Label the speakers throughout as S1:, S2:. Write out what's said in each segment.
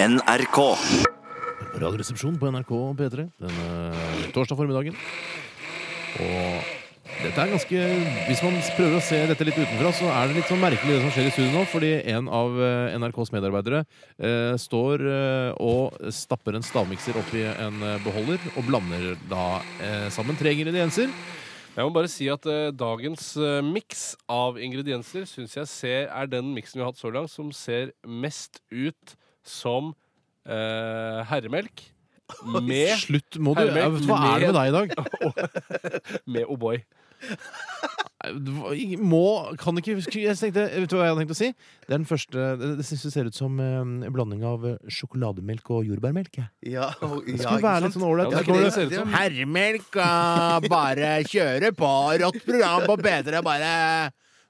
S1: NRK.
S2: Radioresepsjon på NRK P3 denne eh, torsdag formiddagen. Og dette er ganske Hvis man prøver å se dette litt utenfra, så er det litt sånn merkelig det som skjer i studio nå. Fordi en av eh, NRKs medarbeidere eh, står eh, og stapper en stavmikser oppi en eh, beholder og blander da eh, sammen tre ingredienser.
S3: Jeg må bare si at eh, dagens eh, miks av ingredienser syns jeg ser, er den miksen vi har hatt så langt, som ser mest ut som eh, herremelk med,
S2: Slutt, må du
S3: Hermelk,
S2: Hva er det med deg i dag?
S3: med O'boy.
S2: Hva- Må, kan ikke Jeg tenkte, Vet du hva jeg hadde tenkt å si? Det er den første Det, det synes jeg ser ut som eh, en blanding av eh, sjokolademelk og jordbærmelk. jeg.
S4: Ja, og- ja,
S2: Det skal være litt sånn ålreit.
S3: Ja, det er
S2: Så kommer
S3: ikke det
S2: det-
S3: det ser ut som.
S2: Herremelk ah, bare kjøre på. Rått program på bedre, bare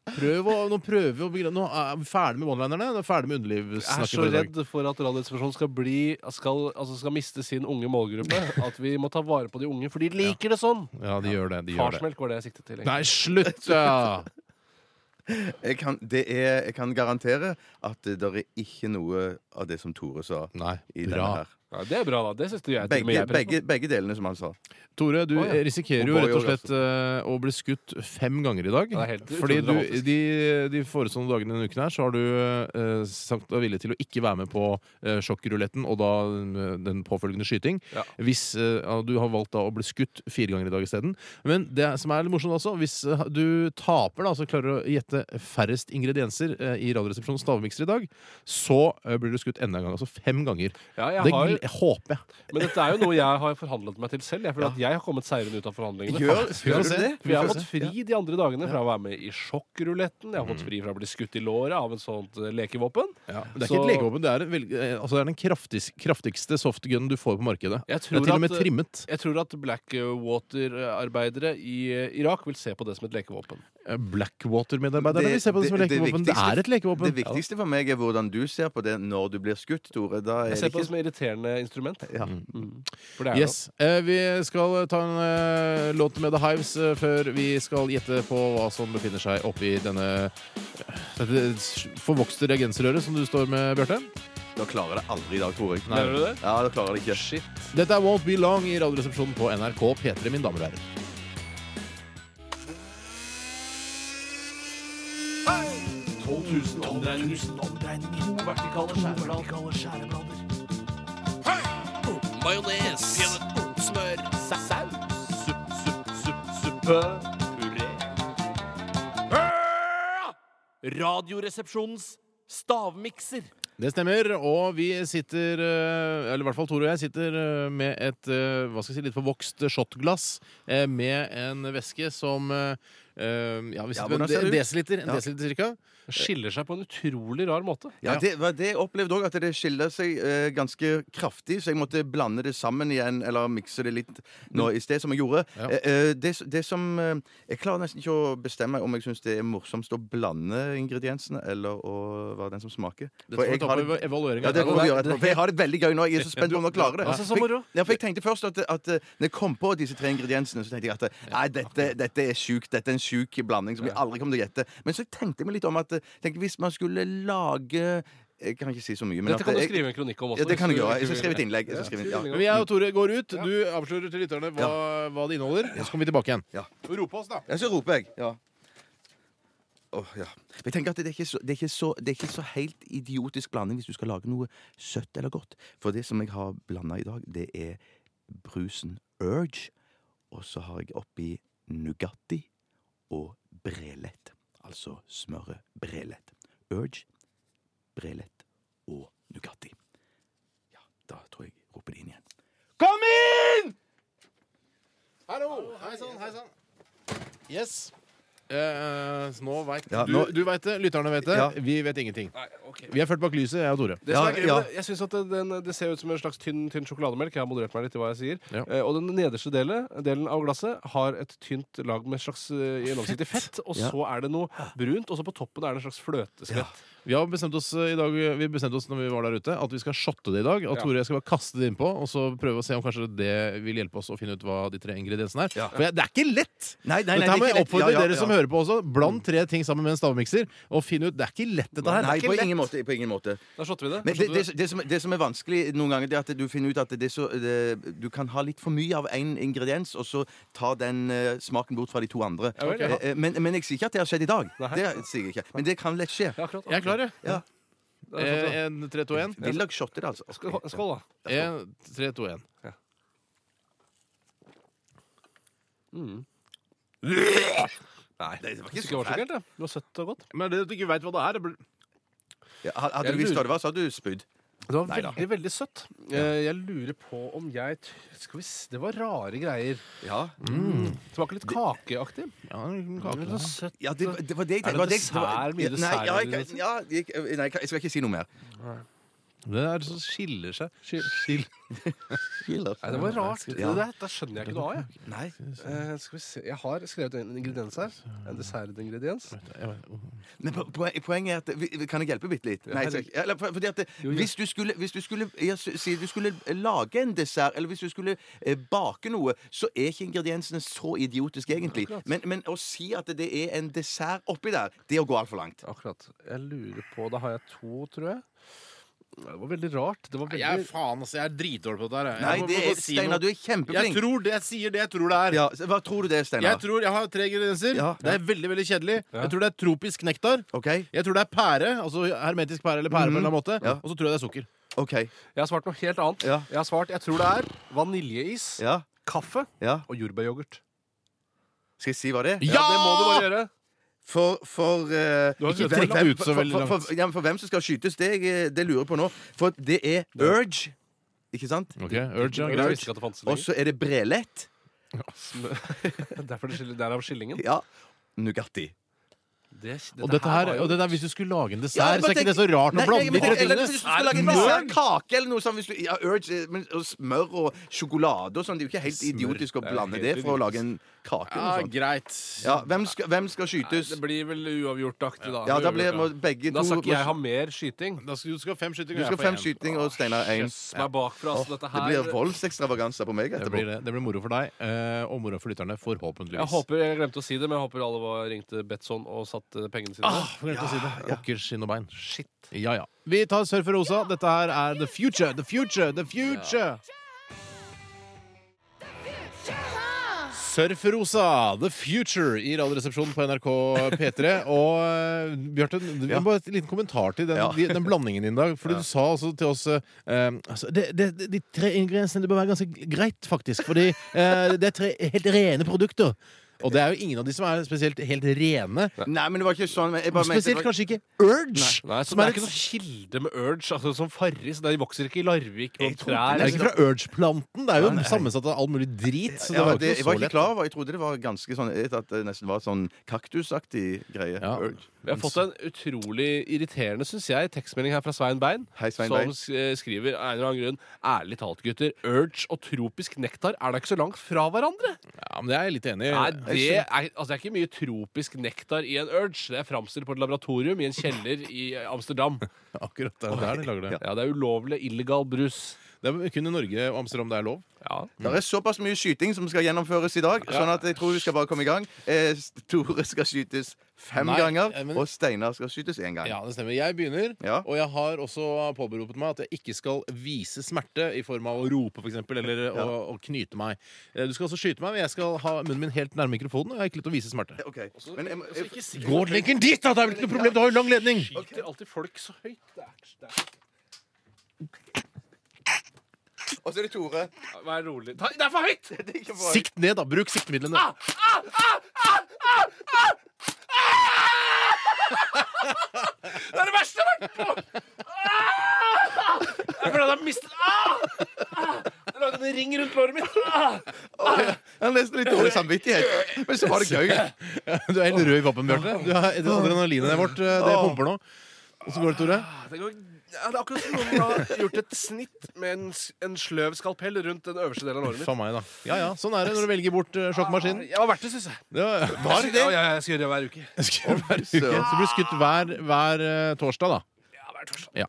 S2: Prøv å, nå prøver vi å begre- Nå er vi ferdig med one-linerne. Nå er vi ferdig med
S3: Jeg er
S2: underlivssnakket.
S3: så
S2: for i dag.
S3: redd for at Radioresepsjonen skal, bli, skal, altså skal miste sin unge målgruppe. At vi må ta vare på de unge, for de liker det sånn!
S2: Ja, de gjør det. De gjør det.
S3: Farsmelk var det jeg siktet til. egentlig.
S2: Nei, slutt! Ja.
S3: sånn-
S4: Jeg kan, det er, jeg kan garantere at det der er ikke noe av det som Tore sa
S2: Nei,
S4: i denne
S2: bra.
S4: her.
S3: Ja, det er bra, da. Det syns jeg. til og med
S4: Begge,
S3: jeg er
S4: begge, begge delene som han sa.
S2: Tore, du
S3: Å, ja.
S2: risikerer
S4: Og
S2: jo
S4: Borg
S2: rett og
S4: også.
S2: slett eh, å bli skutt fem ganger i dag.
S3: Ja, det er helt
S2: fordi du,
S3: utrolig dramatisk.
S2: de, de forestående dagene denne uken her, så har du eh, sagt deg villig til å ikke være med på eh, sjokkruletten og da eh, den påfølgende skyting.
S3: Ja.
S2: Hvis eh, ja, du har valgt da å bli skutt fire ganger i dag isteden. Men det som er litt morsomt altså, hvis eh, du taper, da, så klarer du å gjette færrest ingredienser eh, i Radioresepsjonens stavmikser i dag, så eh, blir du skutt enda en gang. Altså fem ganger.
S3: Ja, jeg
S2: det
S3: har-
S2: gl- håper jeg.
S3: Men dette er jo noe jeg har forhandlet meg til selv. Jeg føler at jeg har kommet seirende ut av forhandlingene.
S4: Gjør, gjør du det?
S3: For jeg har fått fri de andre dagene fra å være med i sjokkruletten. Jeg har fått fri fra å bli skutt i låret av en sånt eh, lekevåpen.
S2: Det er
S3: Så-
S2: ikke et legevåpen, det er, en veldig- eh, altså det er den kraftis, kraftigste softgunen du får på markedet. Det
S3: Jeg
S2: er
S3: tror
S2: til og med
S3: at, eh,
S2: trimmet.
S3: jeg tror at Blackwater-arbeidere i eh, Irak vil se på det som et lekevåpen.
S2: Eh, Blackwater-medarbeiderne vil se på det som et lekevåpen. Det,
S4: viktigste-
S2: er et lekevåpen.
S4: Det viktigste for meg er hvordan du ser på det når du blir skutt, Tore. Da er
S3: Jeg ser
S4: det
S3: på
S4: ikke
S3: det som et irriterende instrument.
S4: Ja.
S3: Mm. For
S2: Ja.
S3: det er
S2: Yes. Eh, vi skal eh, ta en eh, låt med The Hives eh, før vi skal gjette på hva som befinner seg oppi denne eh, dette forvokste reagensrøret som du står med, Bjarte.
S4: Da klarer jeg det aldri i dag, tror jeg.
S3: det. Mener du det?
S4: Ja, da klarer jeg det ikke.
S3: Shit.
S2: Dette er Won't Be Long i Radioresepsjonen på NRK P3, mine damer og herrer.
S5: Radioresepsjonens stavmikser.
S2: Det stemmer, og vi sitter eh, Eller i hvert fall Tore og jeg sitter eh, med et eh, hva skal jeg si, litt forvokst shotglass eh, med en væske som eh, eh, Ja, vi sitter
S4: hvordan
S2: med
S4: ser det
S2: en
S4: ut?
S2: de- desiliter, en
S4: Ja.
S2: desiliter cirka.
S3: Skiller seg på en utrolig rar måte.
S4: Ja, det var det jeg opplevde òg, at det skiller seg eh, ganske kraftig. Så jeg måtte blande det sammen igjen, eller mikse det litt nå i sted, som jeg gjorde.
S2: Mm. Ja.
S4: Eh, eh, det, det som eh, Jeg klarer nesten ikke å bestemme om jeg syns det er morsomst å blande ingrediensene, eller å være den som smaker.
S2: Det får vi
S4: jeg
S2: ta
S4: har
S2: på evaluering.
S4: ja, det
S2: etterpå.
S4: får vi gjøre etterpå. For jeg har det veldig gøy nå. Jeg er så spent på om jeg klarer det.
S3: Ja, så- så
S4: For jeg-
S3: moro.
S4: Ja, for jeg tenkte først at, at eh, når jeg kom på disse tre ingrediensene, så tenkte jeg at eh, nei, dette, dette er sjukt. Dette er en sjuk blanding som jeg aldri kommer til å gjette. Men så tenkte jeg meg litt om at eh, tenkte, hvis man skulle lage eh, Jeg kan ikke si så mye, men
S3: Dette kan
S4: at
S3: du
S4: jeg-
S3: skrive en kronikk om også.
S4: Ja, det
S3: hvis
S4: kan
S3: du-
S4: jeg gjøre. Jeg
S3: hvis du
S4: skal skrive
S3: vil.
S4: et innlegg. Jeg skal skrive, ja.
S2: Men jeg og Tore går ut. Du avslører til lytterne hva, hva det inneholder. Så kommer vi tilbake igjen.
S4: Ja.
S2: Rop oss, da.
S4: Ja, så roper jeg. Ja. Åh, ja. Men Jeg tenker at det er, ikke så, det, er ikke så, det er ikke så helt idiotisk blanding hvis du skal lage noe søtt eller godt. For det som jeg har blanda i dag, det er brusen Urge. Og så har jeg oppi Nugatti og Brelett. Altså smøret Brelett. Urge, Brelett og Nugatti. Ja, da tror jeg jeg roper det inn igjen. Kom inn!
S2: Hallo! Hei sann, hei sann. Yes. Eh, så nå veit
S4: Ja,
S2: du,
S4: nå-
S2: du vet det, lytterne vet det.
S4: Ja.
S2: Vi vet ingenting.
S3: Nei, ok.
S2: Vi er ført bak lyset, jeg og Tore.
S3: Det, som
S4: Ja,
S3: er gøy, med
S4: ja.
S3: det- Jeg synes at det- den, det ser ut som en slags tynn, tynn sjokolademelk. Jeg har moderert meg litt i hva jeg sier.
S2: Ja.
S3: Eh, og den nederste delen, delen av glasset har et tynt lag med et slags eh, gjennomsiktig fett. Og
S4: Ja.
S3: så er det noe brunt, og så på toppen er det en slags fløteskvett.
S2: Vi har bestemt oss eh, i dag Vi bestemte oss når vi var der ute at vi skal shotte det i dag. At
S3: Ja.
S2: Tore og jeg skal bare kaste det innpå og så prøve å se om kanskje det vil hjelpe oss å finne ut hva de tre ingrediensene er. For jeg, det er ikke lett!
S4: Nei, nei, nei,
S2: dette
S4: det er
S2: her må jeg
S4: ikke lett.
S2: oppfordre
S4: Ja, ja,
S2: dere
S4: ja.
S2: som hører på også. Bland tre ting sammen med en stavmikser og finn ut Det er ikke lett, dette her.
S4: Nei,
S2: det er
S4: på
S2: ikke
S4: ingen måte. På ingen måte.
S3: Da shotter vi det.
S4: Men det, det, det, som, det som er vanskelig noen ganger, det er at du finner ut at det er så, det, du kan ha litt for mye av én ingrediens, og så ta den eh, smaken bort fra de to andre.
S3: Ja, vel, ja.
S4: Eh, eh, Men, men jeg sier ikke at det har skjedd i dag.
S3: Nei.
S4: Det sier jeg ikke. Men det kan lett skje.
S3: Ja, akkurat.
S2: Jeg er klar, jeg.
S4: Ja.
S3: Da shotter
S4: sånn,
S3: vi det.
S2: Eh, En, tre, to, en.
S4: Vil dere shotte det, altså?
S3: Skål, skål, da.
S2: En,
S4: sånn.
S2: tre, to, en.
S3: Nei, det var
S4: ikke
S3: ikke
S4: så
S3: så fælt. Det. det var søtt og godt.
S2: Men det at du ikke veit hva det er det blir-
S4: Ja, hadde
S3: Jeg
S4: du visst hva
S3: lurer-
S4: det var, så hadde du spydd.
S3: Det var
S4: Neida.
S3: veldig, veldig søtt. Eh, Jeg lurer på om jeg t- Skal vi se, Det var rare greier.
S4: Ja.
S3: Smaker litt kakeaktig.
S2: Ja, en kake.
S3: Litt sånn søtt.
S4: Ja, det, det var det jeg
S3: Er det
S4: tenkte. var jeg-
S3: dessert? Mye
S4: Ja, Nei,
S3: dessert,
S4: ja, jeg,
S3: eller noe
S4: kan- ja, jeg, nei, jeg kan- jeg skal ikke si noe mer.
S2: Det er som skiller seg. Skil.
S3: Nei, det var rart. Det
S4: Ja.
S3: der, da skjønner jeg ikke noe av, jeg.
S4: Nei.
S3: Eh, skal vi se. Jeg har skrevet en ingrediens her. En dessertingrediens.
S4: Men po- poen- poenget er at vi- vi- Kan jeg hjelpe bitte litt? Nei, jeg skal ikke- eller, for- fordi at det-
S3: Jo, ja.
S4: Hvis du skulle, hvis du skulle jeg s- si du skulle lage en dessert, eller hvis du skulle eh, bake noe, så er ikke ingrediensene så idiotiske, egentlig. Men, men å si at det er en dessert oppi der, det er å gå altfor langt.
S3: Akkurat. Jeg lurer på Da har jeg to, tror jeg. Det var veldig rart. Det var
S2: Jeg er
S3: veldig
S2: faen, altså. Jeg er dritdårlig på dette her. jeg. Jeg
S4: Nei,
S2: må-
S4: det er,
S2: må bare si noe.
S4: Steinar, du er
S2: Jeg
S4: kjempeflink.
S2: tror det jeg sier det jeg tror det er.
S4: Ja, så hva tror du det er, Steinar?
S2: Jeg tror jeg har tre ingredienser.
S4: Ja.
S2: Det er veldig veldig kjedelig. Jeg tror det er tropisk nektar.
S4: OK?
S2: Jeg tror det er pære, altså hermetisk pære eller pære på en eller annen måte.
S4: Mhm. Ja.
S2: Og så tror jeg det er sukker.
S4: ok
S3: Jeg har svart noe helt annet.
S4: Ja.
S3: Jeg har svart, jeg tror det er vaniljeis,
S4: Ja.
S3: kaffe
S4: ja.
S3: og jordbæryoghurt.
S4: Skal jeg si hva det er?
S2: Ja!
S3: Ja, det må du bare gjøre.
S4: For, for eh,
S2: Du har ikke
S4: ikke
S2: tenkt
S4: hvem-
S2: ut så
S4: for-
S2: veldig
S4: for- for-
S2: langt.
S4: ja, men for hvem som skal skytes, det, eh, det lurer jeg på nå. For det er urge, ikke sant?
S2: Ok, urge, ja,
S3: Jeg
S2: greit.
S3: visste ikke at det fantes
S4: Og
S3: lenger.
S4: så er det brelett.
S3: Derfor det skiller, derav skillingen.
S4: Ja. Nugatti.
S3: Det,
S2: Og dette her,
S3: var jo-
S2: og det der, hvis du skulle lage en dessert,
S4: Ja, jeg
S2: så
S4: bare
S2: er ikke det så
S4: tenker-
S2: rart å
S4: Nei, nei,
S2: blande de
S4: men-
S2: tre
S4: eller hvis du
S2: tingene.
S4: skulle lage en
S2: Nei,
S4: dessertkake eller noe sånt hvis du, ja, urge, eh, men, og Smør og sjokolade og sånn. Det er jo ikke helt
S3: Smør.
S4: idiotisk å
S3: Det er
S4: blande
S3: helt
S4: det for å
S3: idiotisk.
S4: lage en kake.
S2: Ja,
S4: Eller noe sånt.
S2: greit.
S4: Ja, hvem, skal, hvem skal
S3: Nei,
S4: skytes?
S3: Det blir vel uavgjort-aktig, da.
S4: Ja, da
S3: Uavgjort,
S4: blir må begge
S3: Da
S4: to
S3: skal ikke jeg ha mer skyting.
S2: Da skal, du skal ha fem skytinger.
S4: Du skal
S2: jeg får
S4: fem
S2: en.
S4: skyting og Steinar én.
S3: Jøss meg bakfra. Så dette
S4: Det
S3: her
S4: blir voldsekstravaganser på meg
S2: Det
S4: etterpå.
S2: blir, det. det blir moro for deg, eh, og moro for lytterne, forhåpentligvis.
S3: Jeg håper, jeg glemte å si det, men jeg håper alle var, ringte Betson og satte pengene sine.
S2: Ah, for glemte å si det. Pokker skinn og bein. Shit. Ja, ja. Vi tar Surf for Rosa. Dette her er The Future, The Future, The Future. Surferosa, The Future, i Radioresepsjonen på NRK P3. Og eh, Bjarte, du-
S4: Ja.
S2: bare en liten kommentar til den,
S4: Ja.
S2: de- den blandingen din i dag. Fordi du sa altså til oss eh, ehm, altså, det, det, det- De tre ingrediensene det bør være ganske greit, faktisk. Fordi eh, det er tre helt rene produkter. Og det er jo ingen av de som er spesielt helt rene.
S4: Nei, men det var ikke sånn. men Jeg
S2: Og
S4: bare mente det
S2: Spesielt
S4: var...
S2: kanskje ikke Urge.
S3: Nei, så
S2: som er
S3: det er ikke
S2: et-
S3: noen kilde med urge. Altså, som Farris. De vokser ikke i Larvik på
S4: Jeg trodde
S3: trær.
S2: det er ikke fra Urge-planten. Det er jo sammensatt av all mulig drit. Så det
S4: Ja,
S2: var jo
S4: det,
S2: ikke
S4: jeg var
S2: så
S4: ikke
S2: lett.
S4: klar over Jeg trodde det var ganske sånn jeg vet At det nesten var sånn kaktusaktig greie.
S2: Ja.
S4: Urge.
S3: Vi har fått en utrolig irriterende, syns jeg, tekstmelding her fra Svein Bein.
S4: Hei, Svein
S3: som
S4: Bein.
S3: sk- eh, skriver av en eller annen grunn Ærlig talt, gutter. Urge og tropisk nektar er da ikke så langt fra hverandre.
S2: Ja, men det er jeg litt enig i.
S3: Er det, er, altså, det er ikke mye tropisk nektar i en urge. Det er framstilt på et laboratorium i en kjeller i eh, Amsterdam.
S2: Akkurat det er der de lager det.
S3: Ja, Det er ulovlig illegal brus.
S2: Det er kun i Norge og Amsterdam det er lov.
S3: Ja.
S4: Det er såpass mye skyting som skal gjennomføres i dag, sånn at jeg tror vi skal bare komme i gang. Eh, Tore skal skytes fem
S2: Nei,
S4: ganger,
S2: eh, men-
S4: og Steinar skal skytes én gang.
S2: Ja, det stemmer. Jeg begynner,
S4: Ja.
S2: og jeg har også påberopet meg at jeg ikke skal vise smerte i form av å rope, f.eks., eller å, å knyte meg. Eh, Du skal også skyte meg, men jeg skal ha munnen min helt nærme mikrofonen, og jeg har ikke lyst til å vise smerte.
S4: Ok, men jeg, må- jeg,
S2: Går linken dit, da! Det er vel ikke noe problem? Du har jo lang ledning.
S3: Skyter alltid folk så høyt. Det er, det er.
S4: Og så er det Tore.
S3: Ja, Vær rolig. Ta, det er for høyt!
S4: Det er ikke bra.
S2: Sikt ned, da. Bruk siktemidlene.
S3: Det er det verste jeg har vært på! Ah! Jeg føler at jeg har mistet ah! Ah! Jeg lagde en ring rundt låret mitt. Ah!
S4: Jeg har nesten litt dårlig samvittighet, men så var det gøy.
S2: Du er helt rød i pappen, Bjarte. Du har- Adrenalinet vårt, eh, det pumper nå. Og så går det, Tore.
S3: Ah, Det går Ja, det er akkurat som noen har gjort et snitt med en, s- en sløv skalpell rundt den øverste delen av håret mitt.
S2: For meg, da. Ja ja, sånn er det når du velger bort eh, sjokkemaskinen.
S3: Jeg har vært det, syns jeg.
S2: Det var-
S3: Var det? Ja, ja, jeg skal gjøre det hver uke.
S2: Jeg skulle hver uke. Så blir du skutt hver, hver eh, torsdag, da.
S3: Ja, hver torsdag.
S2: Ja.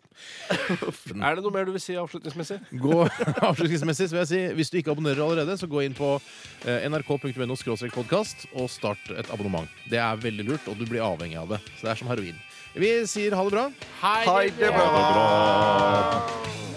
S3: Er det noe mer du vil si avslutningsmessig?
S2: Gå, avslutningsmessig så vil jeg si Hvis du ikke abonnerer allerede, så gå inn på eh, nrk.no podkast og start et abonnement. Det er veldig lurt, og du blir avhengig av det. Så det er som heroin. Vi sier ha det bra.
S4: Hei, det var bra.